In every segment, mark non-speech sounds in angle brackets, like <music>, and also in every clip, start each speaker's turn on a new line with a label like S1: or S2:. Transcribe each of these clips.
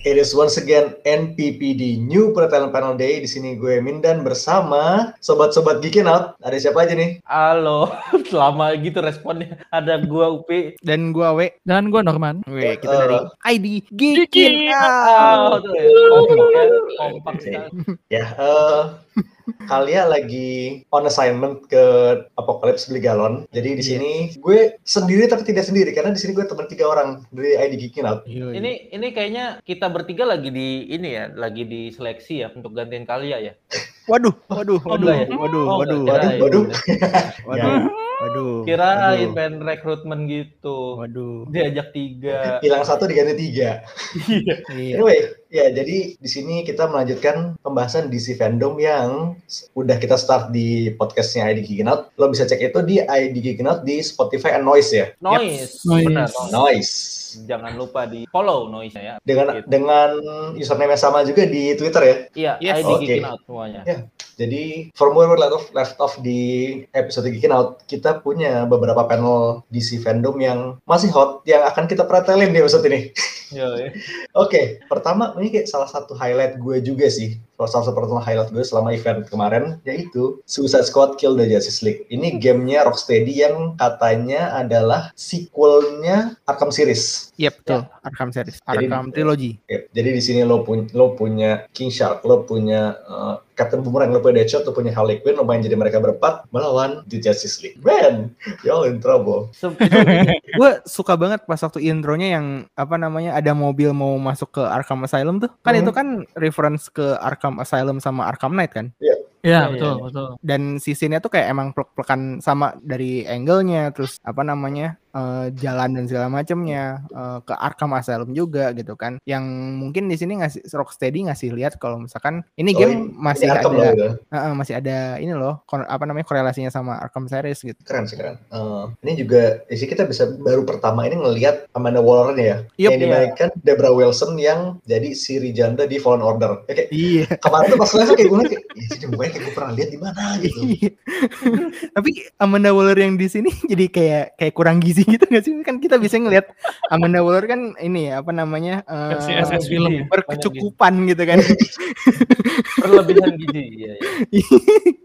S1: It is once again NPPD New Talent Panel Day. Di sini gue Mindan bersama sobat-sobat Geekin Out. Ada siapa aja nih?
S2: Halo, <laughs> lama gitu responnya. Ada gua Upi.
S3: dan gua W
S4: Dan gue Norman.
S3: W kita dari
S1: Eh,
S3: ID Geekin
S2: Oh,
S3: Out
S2: tuh ya. Kompak ya, kompak sekali.
S1: Ya, eh, kalian lagi on assignment ke Apocalypse beli galon. Jadi di sini gue sendiri tapi tidak sendiri karena di sini gue teman tiga orang dari ID Geekin Out.
S2: Ini ini kayaknya kita bertiga lagi di ini ya, lagi di seleksi ya untuk gantiin Kalia ya.
S3: waduh waduh
S2: Oh,
S3: waduh
S2: enggak ya?
S3: waduh
S2: Oh,
S3: waduh
S2: enggak,
S3: waduh
S2: kirain.
S1: waduh.
S3: waduh waduh
S2: Kirain
S3: waduh,
S2: pengen rekrutmen gitu.
S3: waduh
S2: Diajak tiga.
S1: Hilang satu diganti tiga.
S3: iya
S1: Anyway, ya jadi di sini kita melanjutkan pembahasan DC fandom yang s- udah kita start di podcastnya ID Geekin Out. Lo bisa cek itu di ID Geekin Out di Spotify and Noise ya.
S2: Noise.
S4: Noise.
S2: Benar, noise.
S1: Noise.
S2: Jangan lupa di follow noise ya.
S1: Dengan
S2: Gitu.
S1: dengan username yang sama juga di Twitter ya.
S2: Iya,
S3: Yes.
S2: ID
S1: Oke.
S2: Geekin Out semuanya.
S1: Jadi formula left off, left off di episode Geekin Out kita punya beberapa panel DC fandom yang masih hot yang akan kita pretelin di episode ini. <laughs>
S2: Yoi. <laughs>
S1: Oke, pertama ini kayak salah satu highlight gue juga sih. Salah satu pertama highlight gue selama event kemarin yaitu Suicide Squad Kill the Justice League. Ini gamenya Rocksteady yang katanya adalah sequelnya Arkham series.
S3: iya betul Arkham series
S1: <laughs>
S3: Arkham trilogy
S1: Oke, Jadi di sini lo, pun- lo punya King Shark, lo punya eh, Captain Boomerang, lo punya Deadshot, lo punya Harley Quinn, lo main jadi mereka berempat melawan The Justice League. Man, y'all in trouble.
S2: Se- itu-
S3: gua suka banget pas waktu intronya yang apa namanya ada mobil mau masuk ke Arkham Asylum tuh kan
S1: Hmm.
S3: itu kan reference ke Arkham Asylum sama Arkham Knight kan
S4: Iya,
S2: Iya,
S4: betul,
S2: iya.
S4: betul.
S3: dan si scene-nya tuh kayak emang plek-plekan sama dari angle-nya terus apa namanya eh, jalan dan segala macemnya eh, ke Arkham Asylum juga gitu kan yang mungkin di sini ngasih Rocksteady ngasih lihat kalau misalkan ini
S1: Oh,
S3: game masih
S1: Ini
S3: ada
S1: Arkham loh, gitu.
S3: Heeh, masih ada ini loh kon- apa namanya korelasinya sama Arkham series gitu
S1: Keren sih, keren. Eh, ini juga, isi kita bisa baru pertama ini ngelihat Amanda Waller ya.
S3: Yup, iya.
S1: yang dimainkan Debra Wilson yang jadi Siri Janda di Fallen Order. Oke,
S3: iya
S1: kemarin tuh pas live kayak gue ngeliat kayak, "Iya "Ih, ini mukanya kayak gue pernah lihat di mana
S3: <laughs>
S1: gitu.
S3: Iya. Tapi Amanda Waller yang di sini <laughs> jadi kayak kayak kurang gizi gitu nggak sih? Kan kita bisa ngelihat Amanda Waller kan ini ya, apa namanya? eh,
S4: Versi SS film.
S3: berkecukupan gitu kan.
S2: Perlebihan gizi. Iya, iya.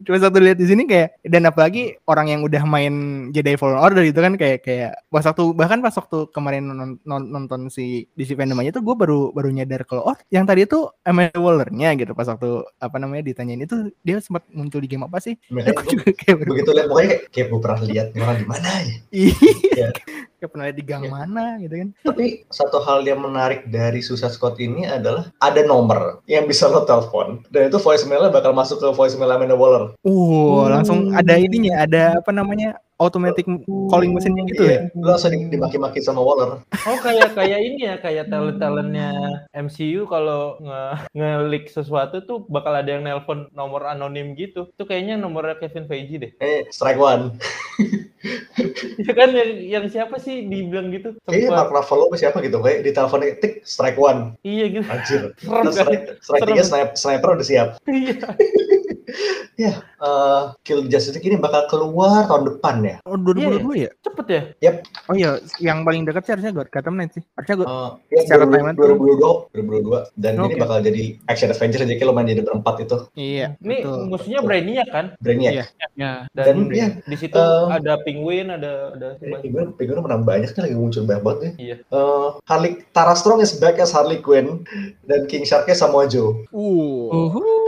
S3: Cuma satu lihat di sini kayak dan apalagi orang yang udah main Jedi Fallen Order gitu kan kayak kayak pas waktu bahkan pas waktu kemarin non- non- nonton si DC Fandom aja tuh gue baru baru nyadar kalau oh yang tadi itu Amanda Waller-nya gitu pas waktu apa namanya ditanyain itu dia sempat muncul di game apa sih?
S1: Makanya
S3: Aku
S1: gue
S3: juga kayak baru-
S1: begitu lihat mukanya kayak, kayak gue pernah lihat di mana- di mana ya. Iya.
S3: <laughs> Iya. Kayak pernah lihat di gang
S1: Iya.
S3: mana gitu kan.
S1: Tapi <laughs> satu hal yang menarik dari Suicide Squad ini adalah ada nomor yang bisa lo telepon dan itu voicemail-nya bakal masuk ke voicemail Amanda Waller.
S3: Uh, langsung ada ininya, ada apa namanya? automatic calling mesinnya gitu ya.
S1: Iya, Lo langsung di- dimaki-maki sama Waller.
S2: Oh kayak kayak ini ya
S3: Hmm.
S2: kayak talent talentnya MCU kalau nge, nge-leak sesuatu tuh bakal ada yang nelpon nomor anonim gitu. Itu kayaknya nomornya Kevin Feige deh. <laughs>
S1: Eh, strike one.
S2: Ya kan yang, yang siapa sih dibilang gitu?
S1: Kayaknya
S3: Iya,
S1: Mark
S2: Sempat.
S1: Ruffalo apa siapa gitu kayak ditelepon tik strike one.
S2: Iya gitu.
S3: <laughs>
S1: Anjir.
S2: Serem
S1: Terus strike,
S2: kan? <laughs>
S1: strike
S2: Serem.
S1: tiga sniper, sniper udah siap.
S2: Iya.
S1: Eh, Kill Justice League ini bakal keluar tahun depan ya.
S3: Oh, 2022 ya?
S2: Cepet ya?
S3: Oh iya, yang paling dekat sih harusnya God Gotham Knight sih. Harusnya God.
S1: Eh, ya,
S3: Secara
S1: 2000-
S3: timeline tuh.
S1: 2022, 2022 dan ini
S3: Oke.
S1: bakal jadi action adventure jadi kayak lo main jadi berempat itu.
S3: Iya,
S2: Ini
S3: betul.
S2: musuhnya Brainiac kan?
S1: Brainiac.
S3: Iya.
S4: Ya.
S1: Dan
S2: Dan,
S1: iya,
S2: di situ
S1: em,
S2: ada Penguin, ada ada
S3: Iya.
S1: Ini Penguin, Penguin menang banyak nih lagi muncul banyak banget nih.
S2: Iya.
S1: Eh, Harley, Tara Strong is back as Harley Quinn dan King Sharknya sama Joe.
S4: Uhuh.
S3: Uh.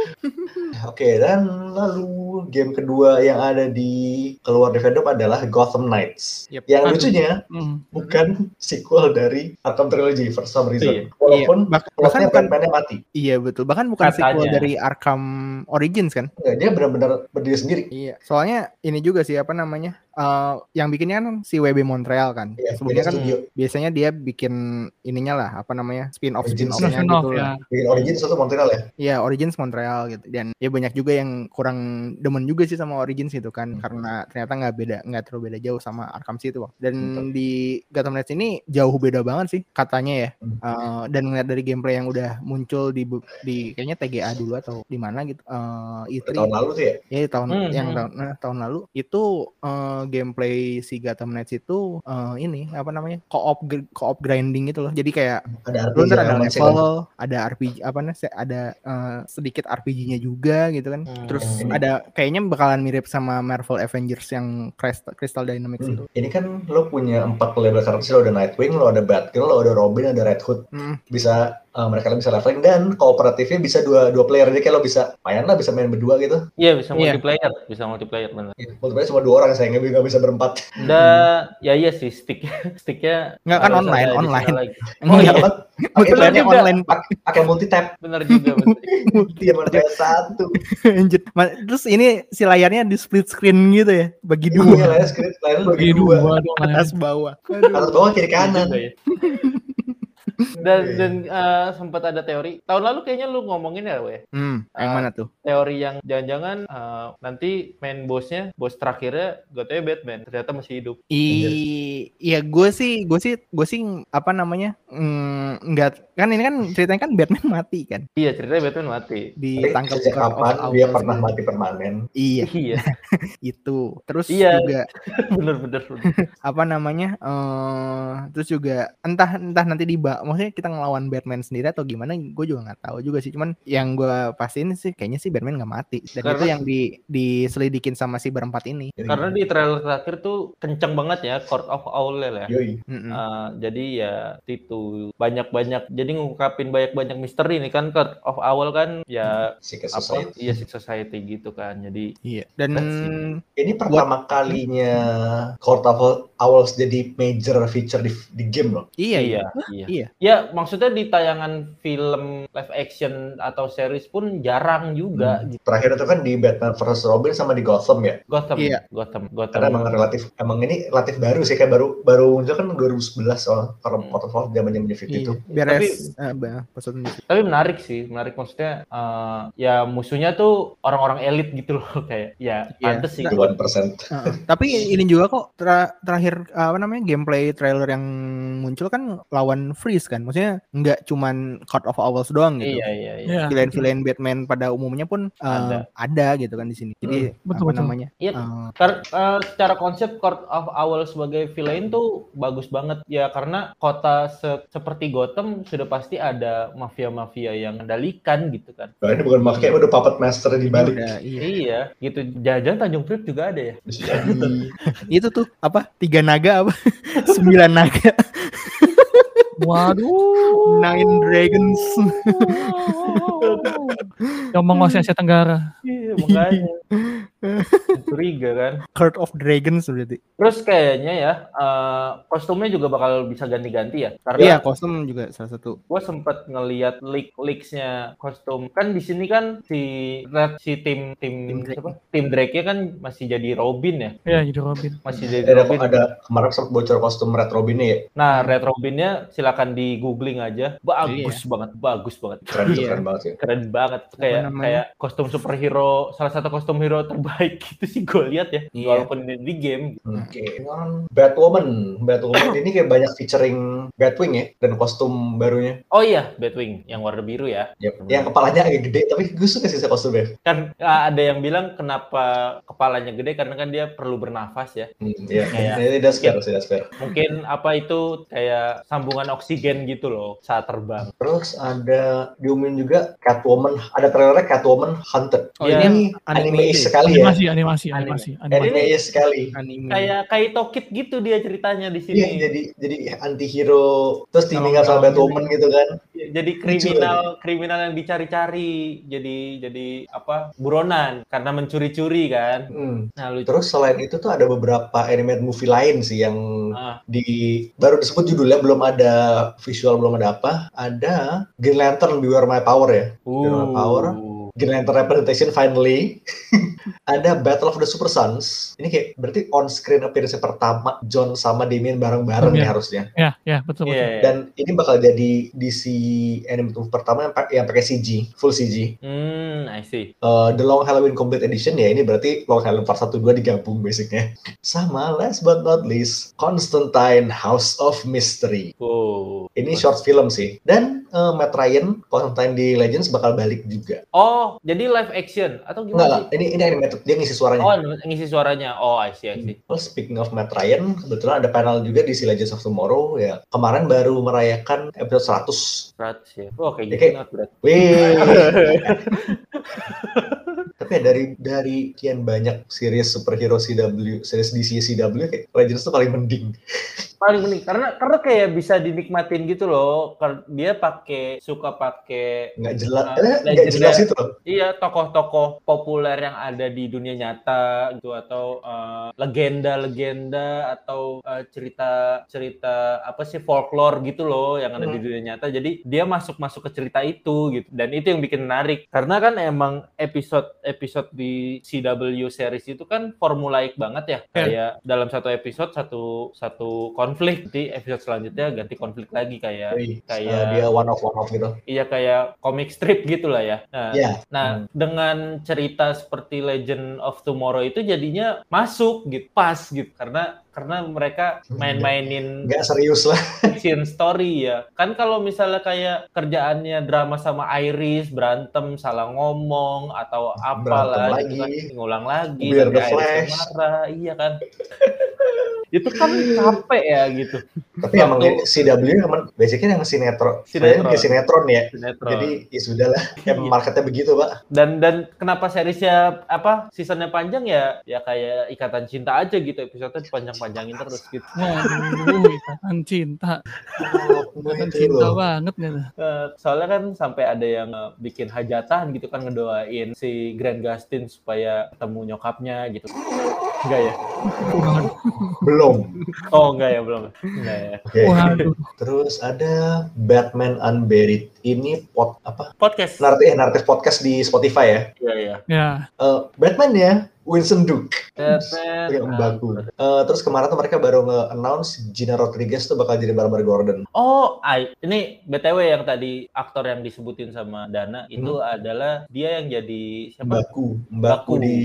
S1: Oke, dan lalu game kedua yang ada di keluar di fandom adalah Gotham Knights.
S3: Yep.
S1: Yang
S4: Aduh.
S1: lucunya
S4: Hmm.
S1: bukan sequel dari Arkham Trilogy for some reason.
S3: Iya,
S1: Walaupun
S3: bak-
S1: plotnya
S3: bahkan bukan
S1: Batman-nya mati.
S3: iya betul. Bahkan bukan sequel
S2: Katanya.
S3: dari Arkham Origins kan?
S1: Enggak, dia benar-benar berdiri sendiri.
S3: Iya. Soalnya ini juga sih apa namanya? eh, yang bikinnya kan si WB Montreal kan.
S1: Iya,
S3: Sebelumnya
S1: beda
S3: kan
S1: studio.
S3: biasanya dia bikin ininya lah apa namanya spin off
S1: Origins.
S3: spin offnya
S4: Spin-off,
S3: gitu
S4: ya.
S3: lah.
S1: Bikin Origin satu Montreal ya.
S3: Iya Origins Montreal gitu dan ya banyak juga yang kurang demen juga sih sama Origins gitu
S1: Hmm.
S3: kan karena ternyata nggak beda nggak terlalu beda jauh sama Arkham City waktu dan
S1: Betul.
S3: di Gotham Knights ini jauh beda banget sih katanya ya
S1: Hmm.
S3: Eh, dan ngeliat dari gameplay yang udah muncul di bu- di kayaknya TGA dulu atau di mana gitu
S1: Udah
S3: eh E3
S1: Tahun lalu tuh ya.
S3: ya di tahun
S2: Hmm,
S3: yang
S2: hmm.
S3: tahun, nah, tahun lalu itu eh, gameplay si Gotham Knights itu eh, ini apa namanya co-op gr- co-op grinding gitu loh jadi kayak
S1: Ada
S3: lu
S1: RPG
S3: ntar ada
S1: elemen sih kan.
S3: level ada RPG apa nih se- ada eh, sedikit RPG-nya juga gitu kan terus
S1: Hmm.
S3: ada kayaknya bakalan mirip sama Marvel Avengers yang Crystal, Crystal Dynamics itu
S1: Hmm. Ini kan lo punya empat playable karakter, lo ada Nightwing, lo ada Batgirl, lo ada Robin, ada Red Hood.
S3: Hmm,
S1: Bisa eh, mereka bisa leveling dan kooperatifnya bisa dua dua player jadi kayak lo bisa main lah bisa main berdua gitu.
S2: Iya bisa
S3: Iya.
S2: multiplayer, bisa multiplayer benar.
S1: Ya, multiplayer cuma dua orang saya nggak nggak bisa berempat.
S2: Dan ya iya sih stick sticknya
S3: Hmm. Nggak, kan
S2: harus
S3: online,
S2: ada additional
S3: online. <laughs>
S2: lagi.
S3: Oh,
S2: iya.
S1: Berempat, Pakai
S2: Betul
S3: multiplayernya
S2: juga.
S3: online <laughs> pak
S1: pakai multi tap
S2: Bener juga. bener.
S1: dia main PS satu.
S3: Anjir. Ma- terus ini si layarnya di split screen gitu ya bagi
S1: Iya
S3: dua
S1: lah screen lain
S4: Bagi dua dong lah ya.
S3: atas bawah
S1: Atas bawah kiri kanan.
S2: Iya juga ya. dan
S1: Iya.
S2: dan eh, sempat ada teori tahun lalu kayaknya lu ngomongin ya weh
S3: hmm, yang mana tuh
S2: teori yang jangan-jangan eh, nanti main bosnya bos terakhirnya gotanya Batman ternyata masih hidup
S3: I, iya gue sih, gue sih, gue sih apa namanya, mm, nggak kan ini kan ceritanya kan Batman mati kan,
S2: iya ceritanya Batman mati
S1: Tapi
S3: ditangkap
S1: Iya. sejak
S3: Guard of
S1: kapan
S3: Hours
S1: dia pernah
S3: gitu.
S1: mati permanen?
S3: Iya
S2: <laughs> iya
S3: itu, terus
S2: Iya.
S3: juga
S2: bener-bener
S3: apa namanya, eh terus juga entah entah nanti di ba- maksudnya kita ngelawan Batman sendiri atau gimana, gue juga nggak tahu juga sih, cuman yang gue pastiin sih kayaknya sih Batman nggak mati, dan
S2: Karena-
S3: itu yang di diselidikin sama si berempat ini.
S1: Jadi,
S2: karena di trailer terakhir tuh kenceng banget ya Court of Owl ya
S1: yoi.
S3: Mm-mm.
S2: Eh, jadi ya itu banyak-banyak jadi ngungkapin banyak-banyak misteri nih kan Court of Owl kan ya
S1: Si ke
S2: apa
S1: society.
S2: iya Sick society gitu kan jadi
S3: Iya. Dan
S2: That's
S1: Ini pertama kalinya Court of Owls jadi major feature di, di game loh.
S3: iya iya.
S2: iya, iya.
S3: Iya.
S2: Ya, maksudnya di tayangan film live action atau series pun jarang juga
S3: Hmm.
S2: gitu.
S1: Terakhir itu kan di Batman vs Robin sama di Gotham ya.
S2: Gotham,
S3: Iya.
S2: Gotham, Gotham.
S1: Karena emang relatif emang ini relatif baru sih kayak baru baru muncul kan 2011 soal
S2: Hmm.
S1: Court of Owls zaman zaman
S3: Iya.
S1: itu.
S3: Beres. eh, bah- maksudnya-
S2: Tapi menarik sih, menarik maksudnya eh, ya musuhnya tuh orang-orang elit gitu loh <laughs> kayak ya
S3: Iya.
S2: pantes sih.
S3: Nah,
S1: Duluan persen.
S3: Heeh. Tapi ini juga kok tra- terakhir apa namanya gameplay trailer yang muncul kan lawan Freeze kan, maksudnya nggak cuman Court of Owls doang gitu.
S2: Iya, iya, iya.
S4: Iya.
S3: Villain-villain Batman pada umumnya pun eh,
S2: Ada.
S3: ada. gitu kan di sini. Jadi
S4: Betul,
S3: apa
S4: betul.
S3: namanya?
S2: Iya.
S3: eh,
S2: Kar- eh, secara konsep Court of Owl sebagai villain tuh bagus banget ya karena kota se- seperti Gotham sudah pasti ada mafia-mafia yang mendalikan gitu kan.
S1: Nah, ini bukan pakai udah puppet master di
S3: ini
S1: balik. <laughs>
S3: udah, iya.
S2: Iya, gitu. Jajan Tanjung Priok juga ada ya.
S3: Itu tuh apa? Tiga naga apa? <laughs> Sembilan naga.
S4: Waduh.
S3: Nine dragons.
S4: Ngomong Asia Asia Tenggara.
S2: Iya, <laughs> makanya. Curiga kan.
S3: Court of Dragons berarti.
S2: Terus kayaknya ya, eh, kostumnya juga bakal bisa ganti-ganti ya.
S3: Iya,
S2: Karena
S3: kostum juga salah satu.
S2: gue sempet ngeliat leak leaksnya kostum. Kan di sini kan si Red, si tim
S3: Tim
S2: tim
S3: Drake.
S2: siapa? Tim Drake-nya kan masih jadi Robin ya.
S4: Ya, jadi Robin.
S2: Masih jadi
S1: Ada,
S2: Robin.
S1: ada kemarin sempat bocor kostum Red Robin ya.
S2: Nah, Red Robin-nya silakan di googling aja. Bagus banget, bagus banget.
S1: Keren itu
S3: Iya.
S1: keren banget sih.
S2: keren banget
S3: Apa
S2: kayak
S3: namanya?
S2: kayak kostum superhero salah satu kostum hero terbaik <laughs> itu sih gue lihat ya
S3: Iya.
S2: walaupun di, di game
S1: Oke, kan Batwoman. Batwoman ini kayak banyak featuring Batwing ya dan kostum barunya.
S2: oh iya Batwing yang warna biru ya
S1: Yap. Yang kepalanya agak gede tapi gue suka sih kostumnya.
S2: kan ah, ada yang bilang kenapa kepalanya gede karena kan dia perlu bernafas ya
S1: Hmm, Iya,
S2: Iya.
S1: ini das fair sih, that's fair. <laughs>
S2: mungkin apa itu kayak sambungan oksigen gitu loh saat terbang
S1: Terus ada diumumin juga Catwoman, ada trailernya Catwoman Hunted.
S3: Oh,
S2: Iya.
S1: ini anime
S3: anime.
S1: sekali ya.
S4: Animasi, animasi, animasi,
S3: Eh,
S4: animasi.
S1: Anime sekali.
S3: Anime.
S2: kayak Kaito Kid gitu dia ceritanya di sini
S1: Hmm. Iya, jadi jadi anti-hero terus
S3: Kalau-
S1: ditinggal sama
S3: kalau-
S1: Batwoman gitu kan.
S2: jadi kriminal kriminal yang dicari-cari jadi jadi apa buronan karena mencuri-curi kan
S1: Hmm.
S2: nah lucu
S1: Terus selain itu tuh ada beberapa animated movie lain sih yang
S2: Ah.
S1: di baru disebut judulnya belum ada visual belum ada apa. Ada
S2: Iya,
S1: Green Lantern Beware My Power ya. Girl Power. Green Lantern Representation finally. <laughs> ada Battle of the Super Sons. Ini kayak berarti on screen appearance pertama John sama Damien bareng-bareng
S4: Iya.
S1: ya harusnya.
S4: Ya, ya betul betul.
S2: Iya.
S1: Dan ini bakal jadi DC anime movie pertama yang, pa- yang pakai CG, full CG.
S2: Hmm, I see.
S1: Uh, The Long Halloween Complete Edition ya ini berarti Long Halloween Part 1 2 digabung basicnya. Sama last but not least, Constantine House of Mystery.
S2: Wow.
S1: Ini short film sih. Dan uh, Matt Ryan, Constantine di Legends bakal balik juga.
S2: Oh, jadi live action atau
S1: Enggak lah,
S2: gimana? sih?
S1: ini ini animated, dia ngisi suaranya.
S2: Oh, ngisi suaranya. Oh, I see, I see.
S1: Well, speaking of Matt Ryan, kebetulan ada panel juga di Si Legends of Tomorrow ya. Kemarin baru merayakan episode 100.
S2: 100 ya. Wah,
S1: Hmm.
S2: kayak
S1: Ya,
S2: gitu
S1: kayak-
S2: not bad.
S1: Wih.
S2: <laughs>
S1: Tapi ya dari dari kian banyak series superhero CW, series DC CW kayak Legends itu paling mending.
S2: Paling unik karena karena kayak bisa dinikmatin gitu loh. Kar- Dia pakai suka pakai
S1: Nggak jelas,
S2: Ah,
S1: eh, nggak
S2: Legends
S1: jelas
S2: ya.
S1: itu loh.
S2: iya tokoh-tokoh populer yang ada di dunia nyata gitu atau eh, legenda-legenda atau eh, cerita-cerita apa sih folklore gitu loh yang ada di
S1: Hmm.
S2: dunia nyata. Jadi dia masuk-masuk ke cerita itu gitu. Dan itu yang bikin menarik karena kan emang episode-episode di CW series itu kan formulaik banget ya.
S4: Iya.
S2: Kayak dalam satu episode satu satu konflik di episode selanjutnya ganti konflik lagi kayak
S1: Wih, eh,
S2: kayak-
S1: dia one of one of gitu.
S2: iya kayak comic strip gitu lah ya. Nah,
S1: Ya,
S2: Nah, dengan cerita seperti Legend of Tomorrow itu jadinya masuk gitu, pas gitu karena karena mereka
S1: Hmm,
S2: <laughs> main-mainin
S1: nggak serius lah.
S2: action story ya. Kan kalau misalnya kayak kerjaannya drama sama Iris berantem salah ngomong atau apalah
S1: Hmm, Berantem
S2: gitu kan,
S1: lagi.
S2: ngulang lagi
S1: Biar
S2: nanti
S1: The
S2: Iris yang
S1: Flash.
S2: marah, iya kan. <laughs> itu kan capek ya gitu.
S1: Tapi emang
S2: Waktu-
S1: CW emang basicnya yang sinetron. Sinetron.
S2: Sinetron.
S1: sinetron ya.
S2: Sinetron.
S1: Jadi ya sudah lah, emang marketnya begitu,
S2: <laughs>
S1: Pak.
S2: dan dan kenapa seriesnya apa seasonnya panjang ya ya kayak ikatan cinta aja gitu episode panjang-panjangin terus gitu
S4: Waduh, ikatan cinta. Ikatan cinta banget nggak tuh?
S2: Eh, soalnya kan sampai ada yang eh, bikin hajatan gitu kan ngedoain si Grand Gustin supaya ketemu nyokapnya gitu enggak ya
S1: Belum.
S2: oh enggak ya belum enggak ya
S1: Oke.
S4: Waduh.
S1: Terus ada Batman Unburied. Ini pot apa?
S2: podcast
S1: Narratif, eh, narratif podcast di Spotify ya.
S2: iya iya
S4: Ya,
S1: Eh, Batman ya, Winston Duke.
S2: Tetet.
S1: Yang bagus. Eh, terus kemarin tuh mereka baru nge-announce Gina Rodriguez tuh bakal jadi Barbara Gordon.
S2: Oh, I- ini BTW yang tadi aktor yang disebutin sama Dana itu adalah dia yang jadi siapa?
S1: Baku. Baku
S2: Baku.
S1: di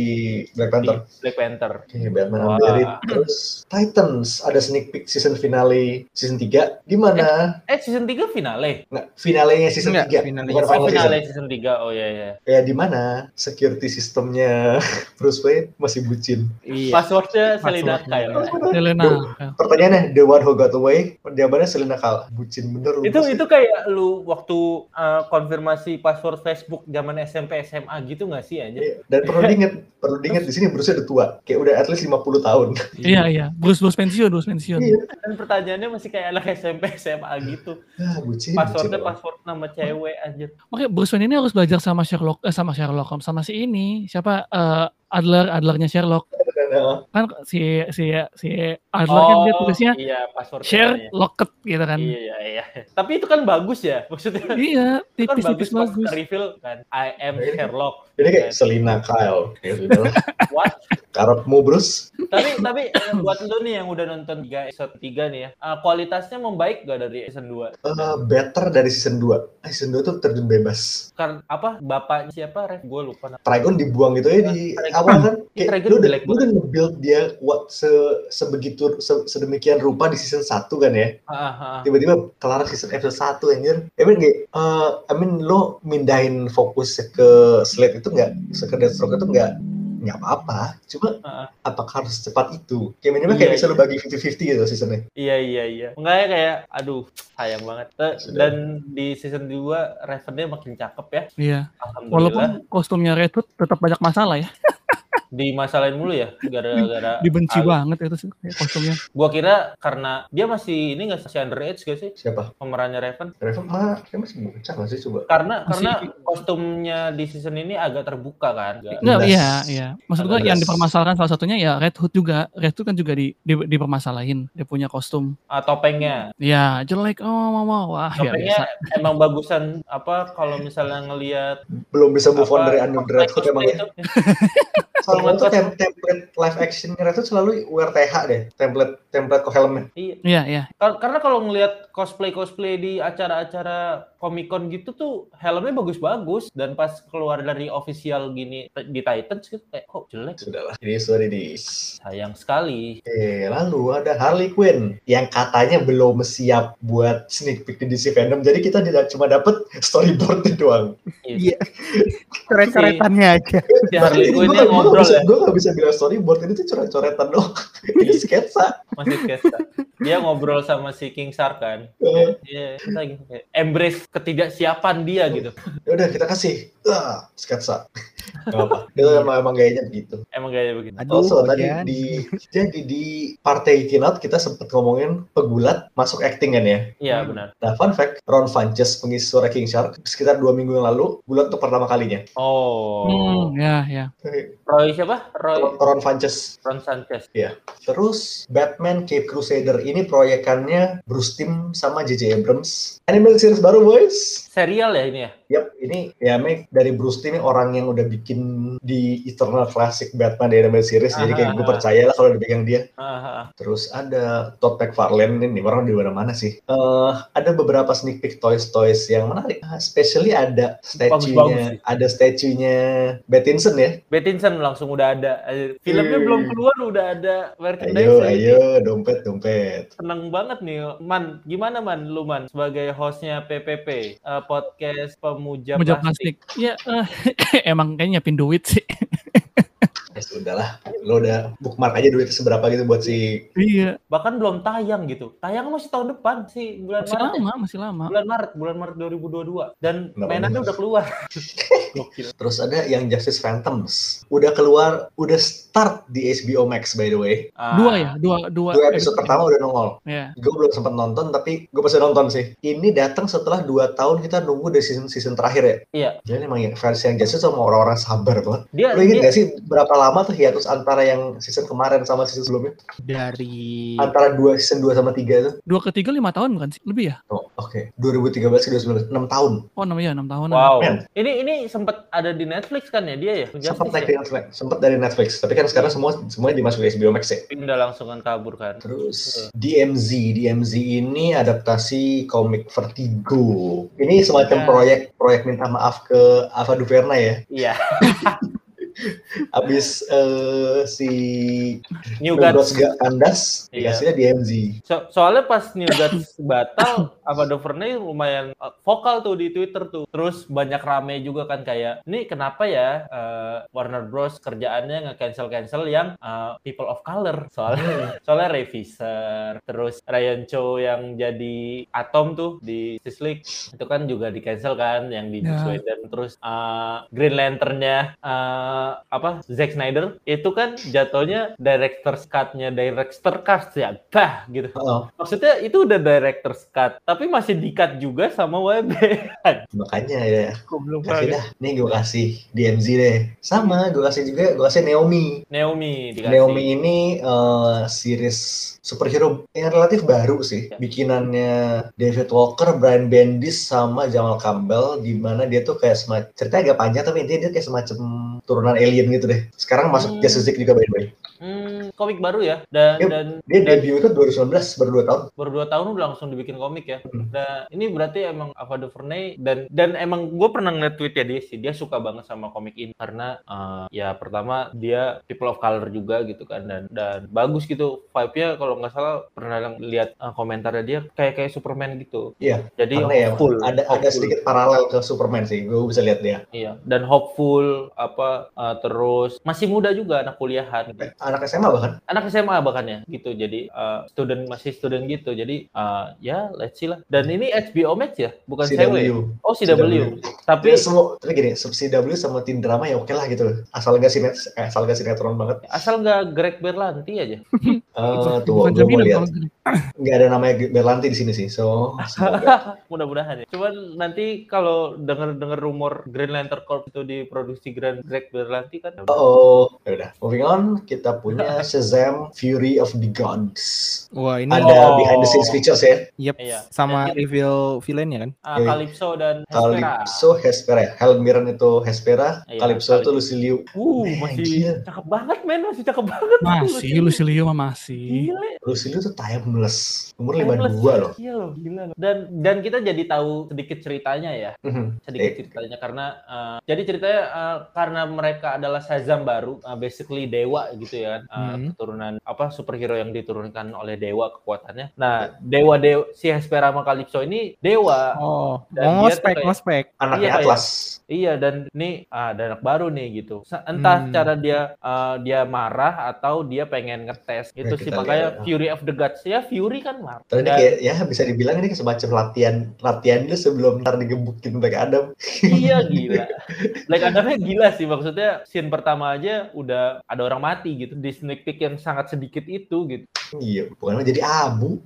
S1: Black
S2: Di
S1: Panther.
S2: Black Panther.
S1: Oke, Batman
S2: Wah.
S1: Unburied. Terus Titans ada sneak peek season finale season 3. Gimana?
S2: Eh, season 3 finale.
S1: Nggak, finalenya season 3.
S3: Nggak, finalenya
S1: bukan
S3: season
S2: Oh,
S1: final season.
S2: finale season 3. Oh iya iya.
S1: Ya di mana security sistemnya <laughs> Bruce Wayne masih bucin.
S5: Iya.
S2: Passwordnya Selena
S3: Passwordnya.
S2: Kyle.
S1: Iya.
S4: Selena.
S3: Iya.
S1: Pertanyaannya the one who got away, jawabannya Selena Kyle. Bucin bener lu.
S2: Itu
S1: pasti.
S2: itu kayak lu waktu uh, konfirmasi password Facebook zaman SMP SMA gitu nggak sih aja?
S1: Iya, Dan
S2: <laughs>
S1: perlu diinget, perlu diinget di sini Bruce udah tua, kayak udah at least 50 tahun. <laughs>
S4: Iya iya, Bruce Bruce pensiun, Bruce pensiun.
S1: Iya.
S2: Dan Kan pertanyaannya masih kayak anak SMP SMA gitu.
S1: Ah, bucin.
S2: Passwordnya
S1: bucin.
S2: password nama cewek aja.
S4: Makanya Bruce Wayne ini harus belajar sama Sherlock, eh, sama Sherlock Holmes, sama si ini siapa eh, Adler, Adlernya Sherlock.
S1: Dan, uh,
S4: Kan si si si Adler kan dia tulisnya
S2: iya password
S4: share locket gitu kan.
S2: Iya iya iya. Tapi itu kan bagus ya maksudnya.
S4: Iya,
S2: Itu kan
S4: tipis-tipis
S2: bagus,
S4: bagus.
S2: bagus. reveal kan I am
S1: Iya.
S2: Sherlock.
S1: <laughs> Jadi kayak Selena Kyle. Ya sudah
S2: <laughs>
S1: lah.
S2: What?
S1: Karepmu Bruce.
S2: tapi tapi eh, buat lu nih yang udah nonton 3 episode 3 nih ya, eh, kualitasnya membaik gak dari season 2?
S1: uh, better dari season 2. Season 2 tuh terjun bebas.
S2: Karena Kan, apa bapak siapa ref gue lupa nama.
S1: Trigon dibuang gitu ya di
S2: Iya, Trigon.
S1: awal kan kayak
S2: Trigon
S1: lu udah,
S2: jelek
S1: lu udah nge-build dia what se, sebegitu se- sedemikian rupa di season 1 kan ya
S2: Ah, ah, ah.
S1: tiba-tiba kelar season episode 1 anjir I mean kayak eh, I mean lo mindahin fokus ke slate itu enggak sekedar stroke itu enggak nggak apa-apa cuma
S2: Heeh.
S1: apakah harus cepat itu kayak minimal kayak
S2: Iya,
S1: bisa
S2: iya.
S1: lo bagi 50-50 gitu seasonnya
S2: Iya iya iya. Enggak ya kayak aduh sayang banget. Eh,
S1: Sudah.
S2: Dan di season 2 Raven-nya makin cakep ya.
S4: Iya,
S2: Alhamdulillah.
S4: walaupun kostumnya Red Hood tetap banyak masalah
S2: Iya,
S4: ya.
S2: Dimasalahin mulu ya gara-gara
S4: <laughs> Dibenci
S2: Al-
S4: banget itu sih kayak kostumnya.
S2: Gua kira karena dia masih ini enggak sih underage gak sih
S1: siapa?
S2: pemerannya Raven?
S1: Reva mah dia masih bocah nggak sih coba?
S2: Karena
S4: Masih-
S2: karena kostumnya di season ini agak terbuka kan. Agak-
S4: Enggak,
S1: Belas.
S4: iya, iya. Maksud gua yang
S1: Belas.
S4: dipermasalahkan salah satunya ya Red Hood juga. Red Hood kan juga di, di dipermasalahin. Dia punya kostum.
S2: ah, topengnya.
S4: Ya, jelek. Oh, mau mau. Wah, ya
S2: Topengnya
S4: biasa.
S2: emang bagusan apa kalau misalnya ngelihat
S1: belum bisa move on
S2: apa,
S1: dari Under the Red Hood
S2: cosplay
S1: emang ya
S2: itu.
S1: Selalu tuh tem- template live action itu selalu URTH deh, template template kok helmnya.
S2: Iya.
S4: Iya, iya.
S2: Kar- Karena kalau ngelihat cosplay-cosplay di acara-acara Comic-Con gitu tuh helmnya bagus-bagus dan pas keluar dari official gini t- di Titans gitu kayak kok jelek.
S1: Sudahlah, ini sorry di.
S2: Sayang sekali.
S1: Oke, lalu ada Harley Quinn yang katanya belum siap buat sneak peek di DC fandom. Jadi kita tidak cuma dapet storyboard doang.
S3: Iya. Coret-coretannya aja.
S2: Si Harley
S3: <laughs>
S1: Ini
S2: Quinn
S1: gua-
S2: yang
S1: gua
S2: ngobrol
S1: nggak bisa-
S2: ya,
S1: Gua nggak bisa bilang storyboard ini tuh coret-coretan doang. <laughs> ini sketsa.
S2: masih kesta. Dia ngobrol sama si King Shark kan.
S1: Eh,
S2: Iya, kita gitu kayak embrace ketidaksiapan dia gitu.
S1: Ya udah kita kasih. Ah, sketsa. Gak apa. Itu
S2: Iya.
S1: emang, emang gayanya begitu.
S2: Emang gaya begitu.
S3: Aduh, iya.
S1: Also tadi
S2: iya.
S3: Ojan.
S1: di jadi di partai kinat kita sempat ngomongin pegulat masuk acting kan ya.
S2: Iya, benar.
S1: Nah fun fact, Ron Funches pengisi suara King Shark sekitar dua minggu yang lalu gulat untuk pertama kalinya.
S2: Oh.
S4: Hmm, ya, ya.
S2: Roy siapa? Roy
S1: Ron Funches.
S2: Ron Sanchez.
S1: Terus Batman Cape Crusader ini proyekannya Bruce Timm sama J.J. Abrams. Animal series baru boys.
S2: Serial ya ini ya?
S1: Yap, ini ya Meg dari Bruce Timm ini orang yang udah bikin di Eternal Classic Batman di Animal series. Jadi kayak gue
S2: Aha.
S1: percaya lah kalau dipegang dia.
S2: Ah, ah, ah.
S1: Terus ada Todd McFarlane ini orang di mana-mana sih. Eh ada beberapa sneak peek toys toys yang menarik. Ah, Especially ada
S2: Bagus-bagus
S1: statuenya,
S2: sih.
S1: ada statuenya Battinson ya.
S2: Pattinson langsung udah ada. Ayo, Filmnya
S1: Hmm.
S2: belum keluar udah ada merchandise.
S1: Ayo, ayo, dompet, dompet.
S2: Seneng banget nih, Man. Gimana Man, lu Man sebagai hostnya PPP eh, podcast pemuja,
S4: Meja
S2: plastik.
S4: plastik. Ya, eh, <laughs> emang kayaknya nyiapin duit sih.
S1: Ya sudahlah, lo udah bookmark aja duit seberapa gitu buat si
S4: Iya.
S2: Bahkan belum tayang gitu. Tayang masih tahun depan sih bulan
S4: Masih
S2: Maret. ya?
S4: lama, masih lama.
S2: Bulan Maret, bulan Maret 2022 dan
S1: Kenapa
S2: mainannya
S1: benar?
S2: udah
S1: <laughs>
S2: keluar. Gokil.
S1: terus ada yang Justice Phantoms udah keluar udah start di HBO Max by the way
S2: Ah,
S4: Dua ya, dua, dua.
S1: dua episode pertama udah nongol
S4: Ya.
S1: gue belum sempat nonton tapi gue pasti nonton sih ini datang setelah dua tahun kita nunggu dari season season terakhir ya
S2: Iya.
S1: jadi emang yang fans yang Justice sama orang-orang sabar banget
S2: Dia,
S1: lo inget ya?
S2: dia-
S1: gak sih berapa lama tuh hiatus antara yang season kemarin sama season sebelumnya
S3: Dari
S1: antara dua season 2 sama 3 itu
S4: Dua ketiga lima tahun bukan sih? Lebih ya?
S1: oh, oke 2013 ke 2019 6 tahun
S4: Oh, enam ya, enam tahun.
S2: Wow.
S1: Man.
S2: Ini ini sempat ada di Netflix kan ya dia ya?
S1: sempat
S2: Justice
S1: naik
S2: ya?
S1: di Netflix sempat dari Netflix tapi kan sekarang semua semuanya dimasukin HBO Max ya
S2: Pindah langsung kan kabur kan.
S1: Terus DMZ, DMZ ini adaptasi komik Vertigo. Ini semacam
S4: Ya.
S1: proyek proyek minta maaf ke Ava Duvernay ya.
S2: Iya.
S1: <laughs> Abis eh, si
S2: New Gods.
S1: Dodos gak kandas,
S2: Iya.
S1: dikasihnya DMZ.
S2: So- soalnya pas New Gods <laughs> batal, Ava Duvernay lumayan uh, vokal tuh di Twitter tuh. Terus banyak rame juga kan kayak, ini kenapa ya uh, Warner Bros kerjaannya nge-cancel-cancel yang uh, people of color. Soalnya <laughs> soalnya Reviser, terus Ryan Cho yang jadi Atom tuh di Sislik itu kan juga di-cancel kan yang di
S4: Ya.
S2: Sweden. Terus uh, Green Lantern-nya uh, apa Zack Snyder itu kan jatuhnya director's cut-nya director's cut ya. Bah gitu.
S1: Oh,
S2: Maksudnya itu udah director's cut, tapi masih di-cut juga sama WB.
S1: makanya ya.
S2: Goblok
S1: Kasih
S2: banget.
S1: dah. Nih gue kasih DMZ deh. Sama gue kasih juga, gue kasih Naomi.
S2: <laughs> Naomi dikasih.
S1: Naomi ini eh, series superhero yang relatif baru sih.
S2: Iya.
S1: Bikinannya David Walker, Brian Bendis, sama Jamal Campbell. Di mana dia tuh kayak semacam, ceritanya agak panjang tapi intinya dia kayak semacam turunan alien gitu deh. Sekarang masuk
S2: Hmm.
S1: Justice League juga by the way.
S2: Hmm, komik baru ya. Dan
S1: Yep.
S2: dan
S1: Dia
S2: dan
S1: debut itu 2019, baru 2 tahun.
S2: baru dua tahun udah langsung dibikin komik ya.
S1: Hmm.
S2: Nah, ini berarti emang Ava DuVernay dan dan emang gue pernah ngeliat tweet ya dia sih dia suka banget sama komik ini karena eh, ya pertama dia people of color juga gitu kan dan dan bagus gitu vibe-nya kalau nggak salah pernah lihat eh, komentarnya dia kayak kayak Superman gitu.
S1: Iya,
S2: Jadi
S1: Karena ya,
S2: hopeful.
S1: ada, ada
S2: hopeful.
S1: sedikit paralel ke Superman sih. Gue bisa lihat dia.
S2: Iya, dan hopeful apa eh, terus masih muda juga anak kuliahan.
S1: Eh, Anak SMA bahkan.
S2: anak SMA bahkan ya gitu jadi eh, student masih student gitu jadi eh, ya let's see lah dan ini HBO Max ya bukan CW
S1: CW.
S2: oh CW, tapi
S1: Tapi semua, tapi gini, CW sama tim drama ya oke lah gitu. Asal nggak sinet, eh, asal nggak sinetron banget.
S2: asal nggak Greg Berlanti aja
S1: Eh tuh,
S4: Bukan
S1: gue mau
S4: jaminan
S1: lihat.
S4: kalau gini.
S1: nggak ada namanya Berlanti di sini sih. So,
S2: <laughs>
S1: semoga.
S2: mudah-mudahan ya cuman nanti kalau denger dengar rumor Green Lantern Corp itu diproduksi Grand Greg Berlanti kan
S1: oh, ya udah. Moving on, kita punya Shazam Shazam Fury of the Gods.
S3: Wah ini
S1: Ada
S2: Oh.
S1: behind the scenes pictures ya.
S3: yep,
S2: Iya.
S3: sama
S2: Jadi-
S3: reveal villain ya kan?
S2: Ah,
S1: Oke.
S2: Calypso dan Hespera.
S1: Calypso Hespera. ya. Helen Mirren itu Hespera,
S2: Iya,
S1: Calypso itu
S2: Calypso.
S1: Luciliu.
S2: Uh,
S1: Man, gila.
S2: masih cakep banget men, masih cakep banget.
S4: Masih, Lucilio mah
S1: Iya.
S4: masih.
S2: Gila,
S1: Luciliu tuh timeless. Umur
S2: timeless.
S1: 52 loh.
S2: Iya loh, gila loh. Dan dan kita jadi tahu sedikit ceritanya ya,
S1: Mhm.
S2: sedikit
S1: Eh.
S2: ceritanya karena eh, jadi ceritanya eh, karena mereka adalah Shazam baru, eh, basically dewa gitu ya, kan. Eh,
S3: Hmm.
S2: keturunan apa superhero yang diturunkan oleh dewa kekuatannya. Nah,
S1: Eh.
S2: dewa dewa si Hespera sama Calypso ini dewa.
S3: Oh,
S2: Dan dia
S3: mau
S2: tuh
S3: ngospek,
S2: kayak-
S3: ngospek.
S1: Anaknya
S2: Iya, iya.
S1: Atlas.
S2: Iya dan ini ah, ada anak baru nih gitu. Se- Entah
S3: Hmm.
S2: cara dia eh, dia marah atau dia pengen ngetes gitu
S1: Ya,
S2: sih
S1: kita
S2: makanya
S1: lihat.
S2: Fury of the Gods ya Fury kan marah.
S1: Tapi ini
S2: Dan-
S1: kayak ya bisa dibilang ini semacam latihan latihan dulu sebelum ntar digebukin Black Adam.
S2: iya gila. Black Adamnya gila sih maksudnya scene pertama aja udah ada orang mati gitu di sneak peek yang sangat sedikit itu gitu.
S1: Iya, bukan jadi abu.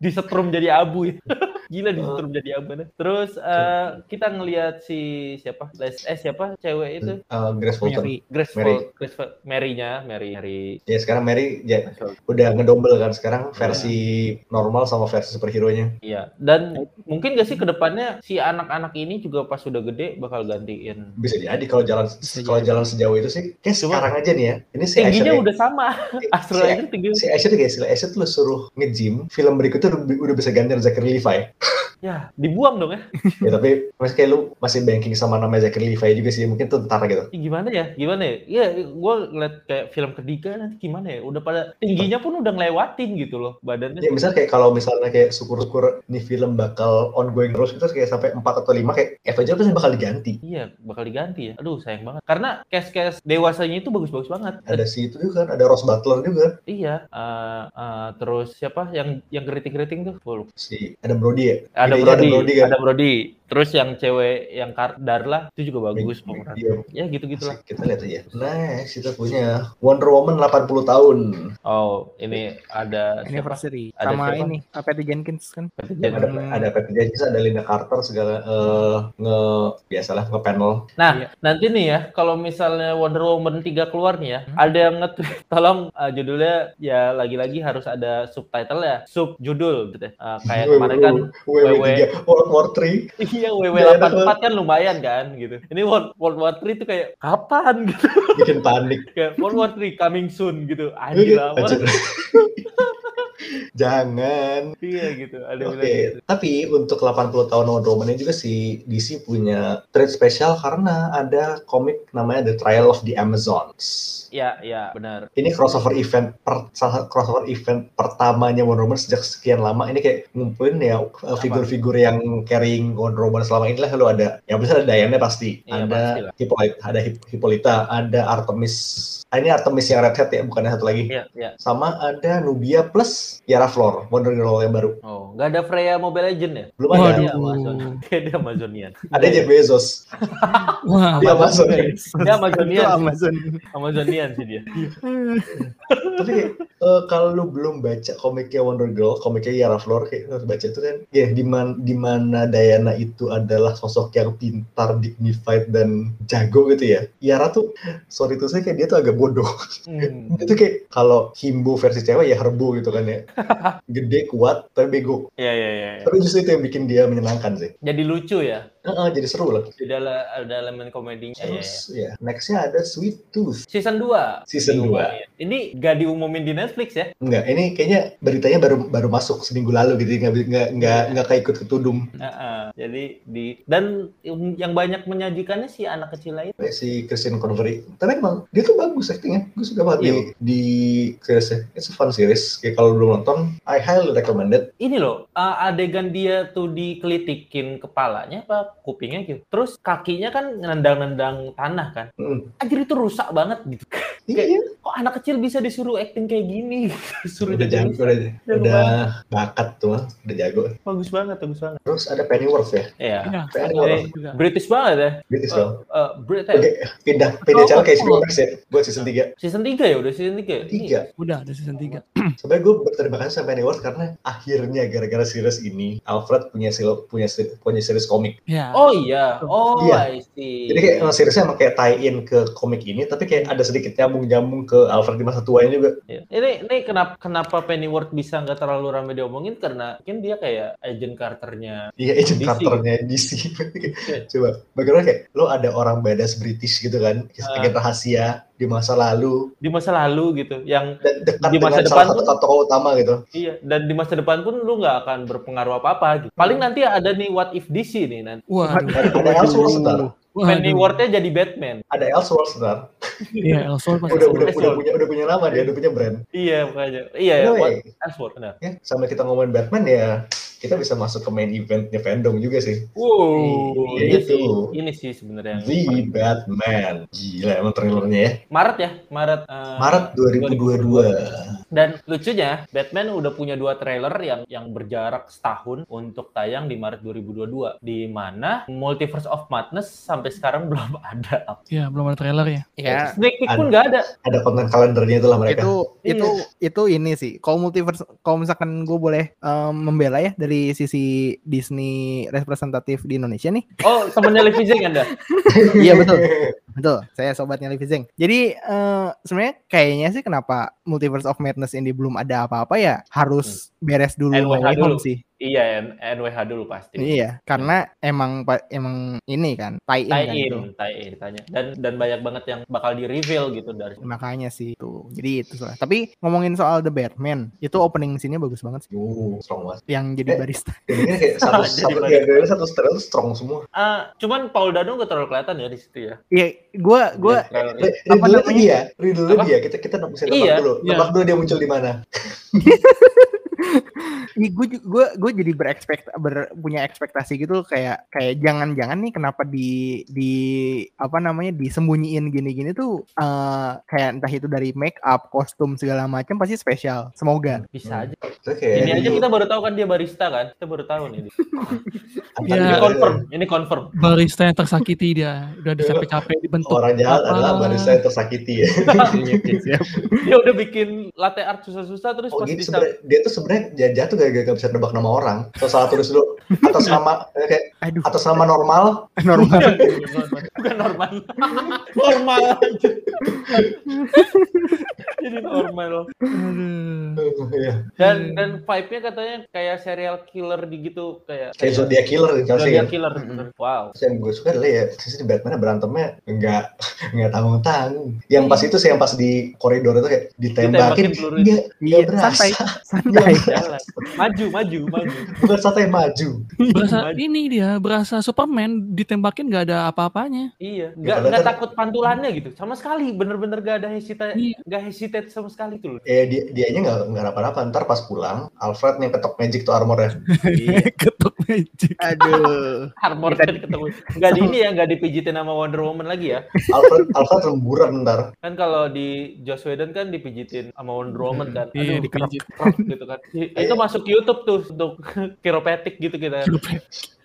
S2: Disetrum jadi abu ya. <laughs> gila disetrum jadi abu. Terus eh, kita ngelihat si siapa? Les- Eh siapa cewek itu?
S1: Eh, Grace Fulton.
S3: Mary.
S2: Grace
S1: Mary.
S2: Fol- Grace Fol- Mary-nya, Mary Mary
S1: Ya sekarang Mary ya, udah ngedombel kan sekarang versi normal sama versi superhero-nya.
S2: Iya, dan mungkin gak sih ke depannya si anak-anak ini juga pas sudah gede bakal gantiin.
S1: Bisa jadi kalau jalan kalau jalan sejauh itu sih. Kayak
S2: Cuma-
S1: sekarang aja nih ya. Ini si
S2: Tingginya
S1: Asher
S2: udah sama. Astro
S1: si-
S2: aja tinggi.
S1: si Asher kayak si Asher tuh lu suruh nge-gym, film berikutnya udah, udah bisa gantiin Zachary Levi.
S2: Ya, dibuang dong ya.
S1: ya tapi masih kayak lu masih banking sama nama Zachary Levi juga sih, mungkin tuh ntar gitu.
S2: Ih, Gimana ya? Gimana ya? Iya, gue ngeliat kayak film ketiga nanti gimana ya? Udah pada tingginya pun udah ngelewatin gitu loh badannya.
S1: Ya misal kayak kalau misalnya kayak syukur-syukur nih film bakal ongoing terus itu kayak sampai 4 atau 5 kayak Avenger pasti bakal diganti.
S2: Iya, bakal diganti ya. Aduh, sayang banget. Karena cast-cast dewasanya itu bagus-bagus banget. Dan-
S1: Ada si itu juga kan, ada Ross Butler juga,
S2: iya, eh, eh, terus siapa yang yang keriting-keriting tuh? Gua lupa.
S1: si Adam Brody ya.
S2: Ada
S1: Idenya
S2: Brody,
S1: Adam Brody kan.
S2: ada Brody. Terus yang cewek yang Kar- Darla itu juga bagus pemeran.
S1: Iya,
S2: ya gitu gitulah
S1: kita lihat aja. Next kita punya Wonder Woman 80 tahun.
S2: oh ini ada siapa
S3: Anniversary.
S2: Ada
S3: sama
S2: siapa?
S3: ini, apa, Patty Jenkins kan?
S2: Patty
S1: Ada
S3: Hmm.
S1: ada Patty Jenkins, ada Linda Carter segala eh, nge biasalah nge panel.
S2: Nah, nanti nih ya, kalau misalnya Wonder Woman 3 keluar nih ya, ada yang nge <laughs> tolong eh, judulnya ya lagi-lagi harus ada subtitle ya, sub judul gitu ya. Eh, kayak
S1: Iya,
S2: kemarin kan
S1: WW3, World War 3.
S2: <laughs> iya
S1: Gak enak
S2: WW84 kan lumayan kan gitu. Ini World, World War 3 itu kayak kapan <laughs> gitu.
S1: bikin
S2: <laughs>
S1: panik.
S2: Kayak World War 3 coming soon gitu. Anjir
S1: Anjir.
S2: apa?
S1: <laughs> Jangan.
S2: Iya gitu. Ada yang
S1: Oke,
S2: bilang gitu.
S1: tapi untuk 80 tahun Wonder Woman ini juga si DC punya trade spesial karena ada komik namanya The Trial of the Amazons.
S2: Ya, ya, benar.
S1: Ini crossover event per, salah satu crossover event pertamanya Wonder Woman sejak sekian lama. Ini kayak ngumpulin ya eh, figur-figur yang carrying Wonder Woman selama ini lah. Lalu ada, yang bisa ada Diana pasti,
S2: Iya, pasti
S1: ada
S2: lah.
S1: Hippolyta, ada Hip- Hippolyta, ada Artemis. Ah, ini Artemis yang red hat ya, bukan yang satu lagi.
S2: Iya, iya.
S1: Sama ada Nubia plus Yara Flor, Wonder Girl yang baru.
S2: Oh, nggak ada Freya Mobile Legend ya?
S1: Belum ada.
S4: Waduh.
S2: Iya, Amazon. <laughs> Kayak dia Amazonian.
S1: Ada Jeff Bezos.
S4: Wah,
S1: Dia masuk.
S2: Dia Amazonian.
S3: Itu Amazon.
S2: Amazonian sih dia.
S1: Tapi kayak, eh, kalau lu belum baca komiknya Wonder Girl, komiknya Yara Flor, kayak lu harus baca itu kan. Ya, di man- di mana Diana itu adalah sosok yang pintar, dignified dan jago gitu ya. Yara tuh, sorry tuh saya kayak dia tuh agak bodoh. <laughs>
S2: Hmm.
S1: Itu kayak kalau Himbo versi cewek ya Herbo gitu kan ya. Gede, kuat, tapi bego.
S2: Iya, iya, iya. iya.
S1: Tapi justru itu yang bikin dia menyenangkan sih.
S2: Jadi lucu ya.
S1: Heeh, jadi seru lah.
S2: Jadi ada, ada elemen eh, komedinya. Iya, iya.
S1: Terus ya, nextnya ada Sweet Tooth.
S2: Season 2.
S1: Season
S2: Ini gak diumumin di Netflix ya?
S1: Enggak, ini kayaknya beritanya baru baru masuk seminggu lalu gitu, nggak nggak nggak nggak kayak ikut ketudung.
S2: Heeh. Jadi di dan yang banyak menyajikannya si anak kecil lain.
S1: Kayak Si Christian Convery, tapi emang dia tuh bagus actingnya, gue suka banget di, di seriesnya. It's a fun series, kayak kalau belum nonton, I highly recommend it.
S2: Ini loh, uh, adegan dia tuh dikelitikin kepalanya apa kupingnya gitu. Terus kakinya kan nendang-nendang tanah kan.
S1: Mm.
S2: Anjir itu rusak banget gitu.
S1: Iya,
S2: Kok anak kecil bisa disuruh acting kayak gini? <laughs> Disuruh
S1: udah
S2: jadi
S1: jago, udah, udah bakat tuh, ah. udah jago.
S2: bagus banget, bagus banget.
S1: Terus ada Pennyworth ya,
S2: Iya.
S4: Iya,
S1: Fair
S4: iya
S1: enough.
S4: juga.
S2: British banget ya.
S1: gitu sih.
S2: Eh, eh, Brit- eh,
S1: Oke, pindah pindah
S4: Oh,
S1: channel kayak
S4: oh.
S1: HBO Max ya, buat season 3.
S2: Season 3 ya udah season 3.
S1: Tiga.
S4: Udah, ada season 3.
S1: Sebenernya gue terima kasih sama Pennyworth karena akhirnya gara-gara series ini Alfred punya sil- punya seri- punya series komik.
S4: Ya.
S2: Oh iya, oh
S1: Iya.
S2: I see.
S1: Jadi kayak seriesnya emang kayak tie in ke komik ini tapi kayak ada sedikit nyambung-nyambung ke Alfred di masa tuanya juga.
S2: Iya. Ini ini kenapa kenapa Pennyworth bisa nggak terlalu ramai diomongin karena mungkin dia kayak agent Carternya.
S1: Iya, Agent
S2: DC.
S1: Carternya DC.
S2: Iya.
S1: Coba, bagaimana kayak lo ada orang badass British gitu kan,
S2: Ah.
S1: agen rahasia di masa lalu
S2: di masa lalu gitu yang
S1: dan dekat
S2: Di masa
S1: dengan salah
S2: depan
S1: satu
S2: tuh-
S1: tokoh utama gitu.
S2: iya dan di masa depan pun lu nggak akan berpengaruh apa apa gitu. paling nanti ada nih what if DC nih nanti
S4: Waduh.
S2: <laughs>
S1: Ada ada Elseworlds ntar,
S4: waduh.
S2: Pennyworth-nya jadi Batman
S1: ada Elseworlds ntar.
S4: Iya, Elseworld masih
S1: Udah,
S4: sama.
S1: udah, udah
S2: Elseworld.
S1: punya udah punya nama dia, udah punya brand.
S2: iya makanya iya
S1: Anyway,
S2: what Elseworld benar
S1: ya, sambil kita ngomongin Batman ya, kita bisa masuk ke main eventnya fandom juga sih.
S2: wow
S1: Iya,
S2: ini
S1: itu.
S2: sih ini sih sebenarnya yang
S1: The
S2: paling-
S1: Batman. Gila emang trailernya ya.
S2: Maret ya Maret eh,
S1: Maret 2022.
S2: dan lucunya Batman udah punya dua trailer yang yang berjarak setahun untuk tayang di Maret 2022 di mana Multiverse of Madness sampai sekarang <laughs> belum ada
S4: Iya, belum ada trailer ya.
S3: Ya,
S2: sneak peek pun nggak ada
S1: Ada konten kalendernya itulah mereka. <laughs>
S3: itu itu itu ini sih kalau multiverse kalau misalkan gue boleh em, membela ya dari sisi Disney representatif di Indonesia nih
S2: oh temennya Levi Zeng ada
S3: iya betul betul saya sobatnya Levi Zeng jadi eh, sebenarnya kayaknya sih kenapa multiverse of madness ini belum ada apa-apa ya harus beres dulu
S2: NWH
S3: No Way
S2: Hmm. dulu.
S3: Home sih
S2: iya N- NWH dulu pasti
S3: iya karena emang pa- emang ini kan tie in kan itu
S2: tie-in, tie-in, tanya. Dan dan banyak banget yang bakal di-reveal gitu dari
S3: makanya sih itu jadi itu soalnya. tapi ngomongin soal The Batman itu opening scene-nya bagus banget sih
S1: Uh, strong banget.
S3: yang
S2: Eh.
S3: jadi barista <laughs>
S1: Dan ini kayak
S2: <laughs>
S1: satu
S2: Jadi
S1: satu
S2: banyak.
S1: trailer satu trailer tuh strong semua.
S2: Ah, cuman Paul Dano nggak terlalu kelihatan ya di situ ya.
S3: Iya, gue gue
S2: Di trailer.
S3: Apa
S1: Riddle-nya
S3: namanya?
S1: dia, riddle
S2: Apa?
S1: dia. Kita kita bisa nebak
S2: Iya,
S1: dulu.
S4: iya.
S1: Nebak dulu dia muncul di mana.
S3: gue gue gue jadi berekspekt ber- punya ekspektasi gitu kayak kayak jangan-jangan nih kenapa di di apa namanya disembunyiin gini-gini tuh eh kayak entah itu dari make up kostum segala macam pasti spesial semoga
S2: Bisa
S1: Hmm.
S2: aja.
S1: Itu kayak
S2: Ini aja
S1: riddle.
S2: kita baru tahu kan dia barista kan. Kita baru tahu nih.
S1: Antar
S4: Ya.
S2: Ini
S1: riddle.
S2: confirm, ini confirm.
S4: Barista yang tersakiti dia, udah capek-capek dibentuk.
S1: Orang jahat
S4: Apa?
S1: adalah barista yang tersakiti ya.
S2: Dia udah bikin latte art susah-susah terus
S1: Oh,
S2: pas
S1: jadi
S2: di
S1: sebenarnya dia tuh sebenarnya jajah tuh gak, gak bisa nebak nama orang. So, salah tulis dulu atas nama eh, kayak
S3: aduh
S1: atas nama normal.
S3: normal
S2: bukan normal. normal. aja. Jadi normal.
S4: Aduh.
S1: Iya.
S2: Dan dan vibe-nya katanya kayak serial killer di gitu kayak
S1: kayak Zodiac Killer nih Chelsea
S2: Zodiac
S1: kan.
S2: killer. gitu.
S3: Mm-mm.
S2: Wow.
S1: Terus yang gue suka adalah ya sisi Batman berantemnya nggak <laughs> nggak tanggung tanggung. Yang pas itu sih yang pas di koridor itu kayak ditembakin.
S2: Ditembakin peluru
S1: Nggak nggak
S3: Iya,
S1: berasa.
S3: santai
S1: Nggak
S3: santai
S1: berasa.
S2: Maju, maju, maju.
S1: <laughs> Bukan santai maju.
S4: Berasa ini dia, berasa Superman ditembakin nggak ada apa-apanya.
S2: Iya,
S1: Ya,
S2: nggak
S1: padahal
S2: nggak
S1: kan-
S2: takut pantulannya gitu, sama sekali, bener-bener nggak ada hesitate,
S4: Iya.
S2: nggak hesitate sama sekali tuh loh.
S1: Eh dia dianya nggak nggak apa-apa. Ntar pas pulang Alfred yang ketok magic tuh armornya.
S2: Iya.
S4: Ketuk magic.
S3: <laughs> aduh
S2: Armor
S3: Kita-
S2: kan ketemu, nggak di ini ya, nggak dipijitin sama Wonder Woman lagi ya. <laughs>
S1: Alfred Alfred lemburan ntar.
S2: Kan kalau di Joss Whedon kan dipijitin sama Wonder Woman kan,
S4: Iya,
S2: aduh
S4: <laughs> dikerap.
S2: dipijit kerap gitu kan. I-
S1: Iya.
S2: Itu masuk YouTube tuh untuk <laughs> kiropetik gitu kita.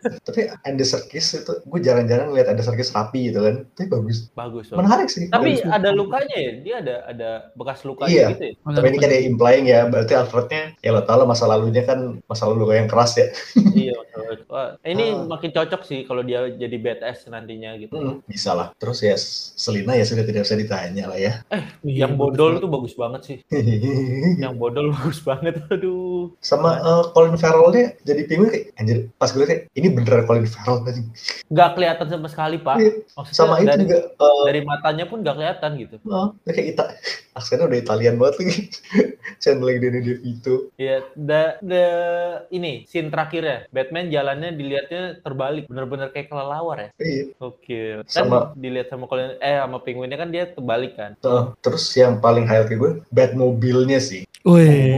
S1: Tapi Andy Serkis itu gue jarang-jarang lihat Andy Serkis rapi gitu kan. Tapi bagus.
S2: Bagus. bagus.
S1: Menarik sih.
S2: Tapi
S1: Bagus.
S2: ada lukanya ya, dia ada ada bekas lukanya
S1: Iya.
S2: gitu ya.
S1: Tapi ini kan ya implying ya, berarti Alfrednya ya lo tau lah masa lalunya kan masa lalu gue yang keras ya.
S2: iya. betul. Wah, ini
S1: Ah.
S2: makin cocok sih kalau dia jadi badass nantinya gitu.
S1: Hmm, bisa lah. Terus ya Selina ya sudah tidak usah ditanya lah ya. <laughs>
S2: Yang bodol tuh bagus banget sih.
S1: Hehehe.
S2: yang bodol <laughs> bagus banget aduh
S1: Sama eh, Colin Farrellnya jadi penguin kayak anjir pas gue liat kayak ini beneran Colin Farrell tadi.
S2: nggak kelihatan sama sekali pak
S1: Iya.
S2: Maksudnya
S1: Sama itu
S2: dari,
S1: juga eh,
S2: dari matanya pun nggak kelihatan gitu
S1: eh, dia kayak Ita <laughs> aksennya udah Italian banget lagi. <laughs> Channeling Danny DeVito.
S2: ya the, ini scene terakhirnya Batman jalannya dilihatnya terbalik bener-bener kayak kelelawar ya
S1: Iya.
S2: oke kan
S1: Sama-
S2: dilihat sama Colin eh sama penguinnya kan dia terbalik kan
S1: Eh, terus yang paling highlight ke gue Batmobile-nya sih.
S4: Wih,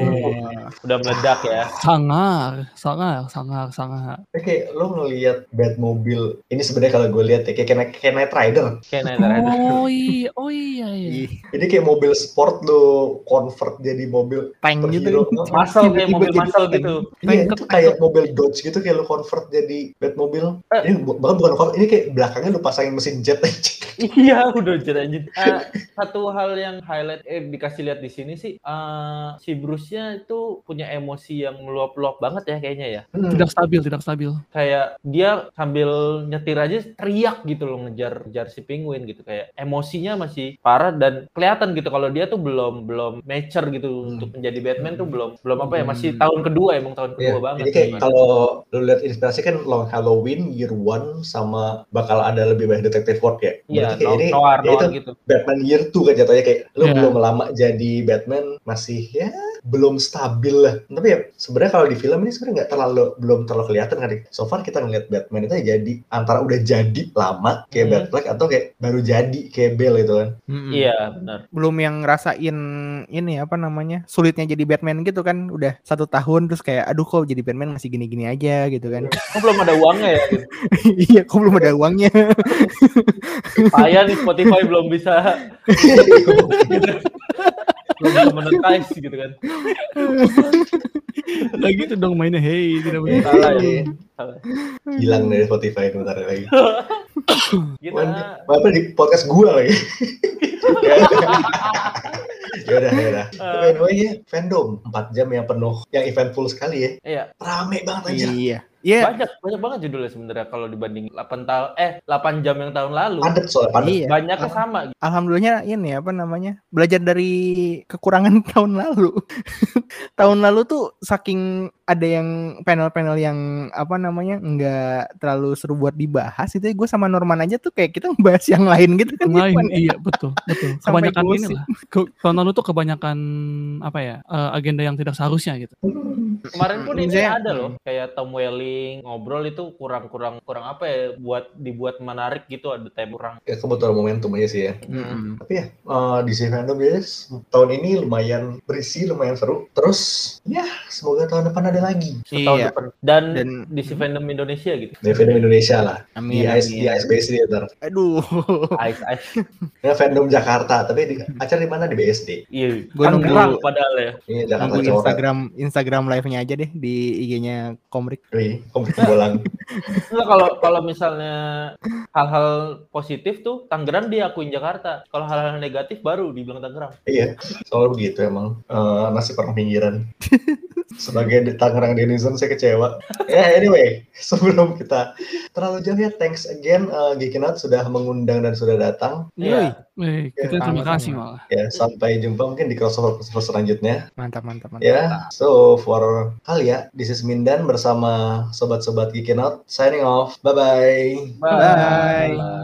S2: udah meledak ya
S4: sangar, sangar, sangar, sangar.
S1: Oke, lo ngelihat Batmobile ini sebenarnya kalau gue lihat ya kayak kayak- kayak Knight Rider.
S2: kayak Knight Rider.
S4: Oh iya, oh iya, iya.
S1: Ini kayak mobil sport lo convert jadi mobil
S3: tank gitu
S1: superhero. Heeh.
S2: muscle kayak
S3: Tiba-tiba
S2: mobil
S3: jadi
S2: muscle
S3: tank.
S2: gitu
S1: Iya,
S4: Tank
S1: itu
S4: ke-
S1: kayak mobil Dodge gitu kayak lu convert jadi Batmobile.
S2: Eh.
S1: Ini bu- bahkan bukan convert, ini kayak belakangnya lu pasangin mesin jet aja.
S2: Iya, udah jadi anjing. Eh, satu hal yang highlight eh dikasih lihat di sini sih eh si Bruce-nya itu punya emosi yang meluap-luap banget ya kayaknya ya.
S1: Hmm.
S4: Tidak stabil, tidak stabil.
S2: Kayak dia sambil nyetir aja teriak gitu loh ngejar ngejar si penguin gitu kayak emosinya masih parah dan kelihatan gitu kalau dia tuh belum belum mature gitu
S1: Hmm.
S2: untuk menjadi Batman tuh belum belum apa ya masih
S5: Hmm.
S2: tahun kedua emang tahun kedua
S1: Iya,
S2: banget.
S1: Jadi kayak
S2: gitu.
S1: kalau lu lihat inspirasi kan Long Halloween, Year One, sama bakal ada lebih banyak detektif work ya.
S2: Iya,
S1: Berarti kayak ini, ya
S2: noir
S1: itu
S2: noir gitu.
S1: Batman Year Two kan jatuhnya kayak lu
S4: Iya.
S1: belum lama jadi Batman masih ya belum stabil lah. Tapi ya sebenarnya kalau di film ini sebenarnya nggak terlalu belum terlalu kelihatan kan. So far kita ngelihat Batman itu jadi antara udah jadi lama kayak
S2: Hmm.
S1: Bat Black atau kayak baru jadi kayak Bale gitu kan.
S2: Iya, benar.
S3: belum yang ngerasain ini apa namanya sulitnya jadi Batman gitu kan udah satu tahun terus kayak aduh kok jadi Batman masih gini-gini aja gitu kan
S2: Kok belum ada uangnya ya gitu.
S3: <laughs> iya kok belum ada uangnya
S2: Saya nih Spotify belum bisa belum bisa monetize gitu kan.
S4: Lagi itu Nah, gitu dong mainnya, hey, tidak
S3: Iya.
S4: boleh.
S2: <laughs> Salah ya. Salah.
S1: Iya. Hilang dari Spotify bentar lagi.
S2: Gitu.
S1: Wah, apa di podcast gua lagi. <laughs> ya udah ya udah.
S2: Ah.
S1: By the way ya, fandom 4 jam yang penuh, yang eventful sekali ya.
S2: Iya,
S1: Rame banget aja.
S3: iya iya
S2: banyak banyak banget judulnya sebenarnya kalau dibanding 8 tahun eh 8 jam yang tahun lalu.
S1: Padet soalnya padet.
S3: iya
S2: Banyaknya sama gitu.
S3: alhamdulillahnya ini apa namanya belajar dari kekurangan <laughs> tahun lalu tahun lalu tuh saking ada yang panel-panel yang apa namanya nggak terlalu seru buat dibahas itu gue sama Norman aja tuh kayak kita ngebahas yang lain gitu kan
S4: Yang lain
S3: Norman ya.
S4: iya betul betul
S3: <laughs> Sampai
S4: kebanyakan
S3: gosip.
S4: ini lah Ke- tahun lalu tuh kebanyakan apa ya eh, agenda yang tidak seharusnya gitu
S1: Hmm.
S2: Kemarin pun ini
S3: Misalnya-
S2: ada loh kayak Tom Welling ngobrol itu kurang-kurang kurang apa ya buat dibuat menarik gitu ada tema kurang.
S1: Ya, kebetulan momentum aja sih ya.
S3: Mm-mm.
S1: Tapi ya eh, di sini fandom guys, tahun ini lumayan berisi, lumayan seru. Terus ya semoga tahun depan ada lagi.
S2: setahun
S3: Iya.
S2: depan. Dan,
S3: dan
S2: di si fandom Indonesia gitu.
S1: Dari fandom Indonesia lah. Di
S3: amin,
S1: IS,
S3: amin.
S1: di ISBC ya, ntar.
S3: Iya, aduh Oh.
S2: Ice Ice.
S1: Ya, fandom Jakarta, tapi di,
S3: Hmm.
S1: acara di mana di BSD.
S2: Iya.
S3: <laughs> Gua nunggu-
S2: Tangerang padahal ya.
S1: Ini Jakarta
S3: Nunggu
S1: Coret.
S3: Instagram Instagram live-nya aja deh di IG-nya Komrik.
S1: Wih, komplit bolang.
S2: Enggak kalau kalau misalnya hal-hal positif tuh Tangerang diakuin Jakarta. Kalau hal-hal negatif baru dibilang Tangerang.
S1: Iya, soalnya begitu emang Eh, nasib orang
S3: <laughs>
S1: pinggiran. Sebagai di Tangerang Denizen saya kecewa. Ya anyway, <laughs> sebelum kita terlalu jauh ya, thanks again eh, Geekinat sudah mengundang dan sudah datang.
S2: Iya.
S4: Eh, kita
S3: Ya,
S4: terima
S3: sama-sama.
S4: kasih malah
S1: Ya sampai jumpa mungkin di crossover crossover selanjutnya.
S3: Mantap mantap mantap.
S1: Ya, so for kali ya, this is Mindan bersama sobat-sobat Geekinat signing off. Bye bye.
S3: Bye.
S2: Bye.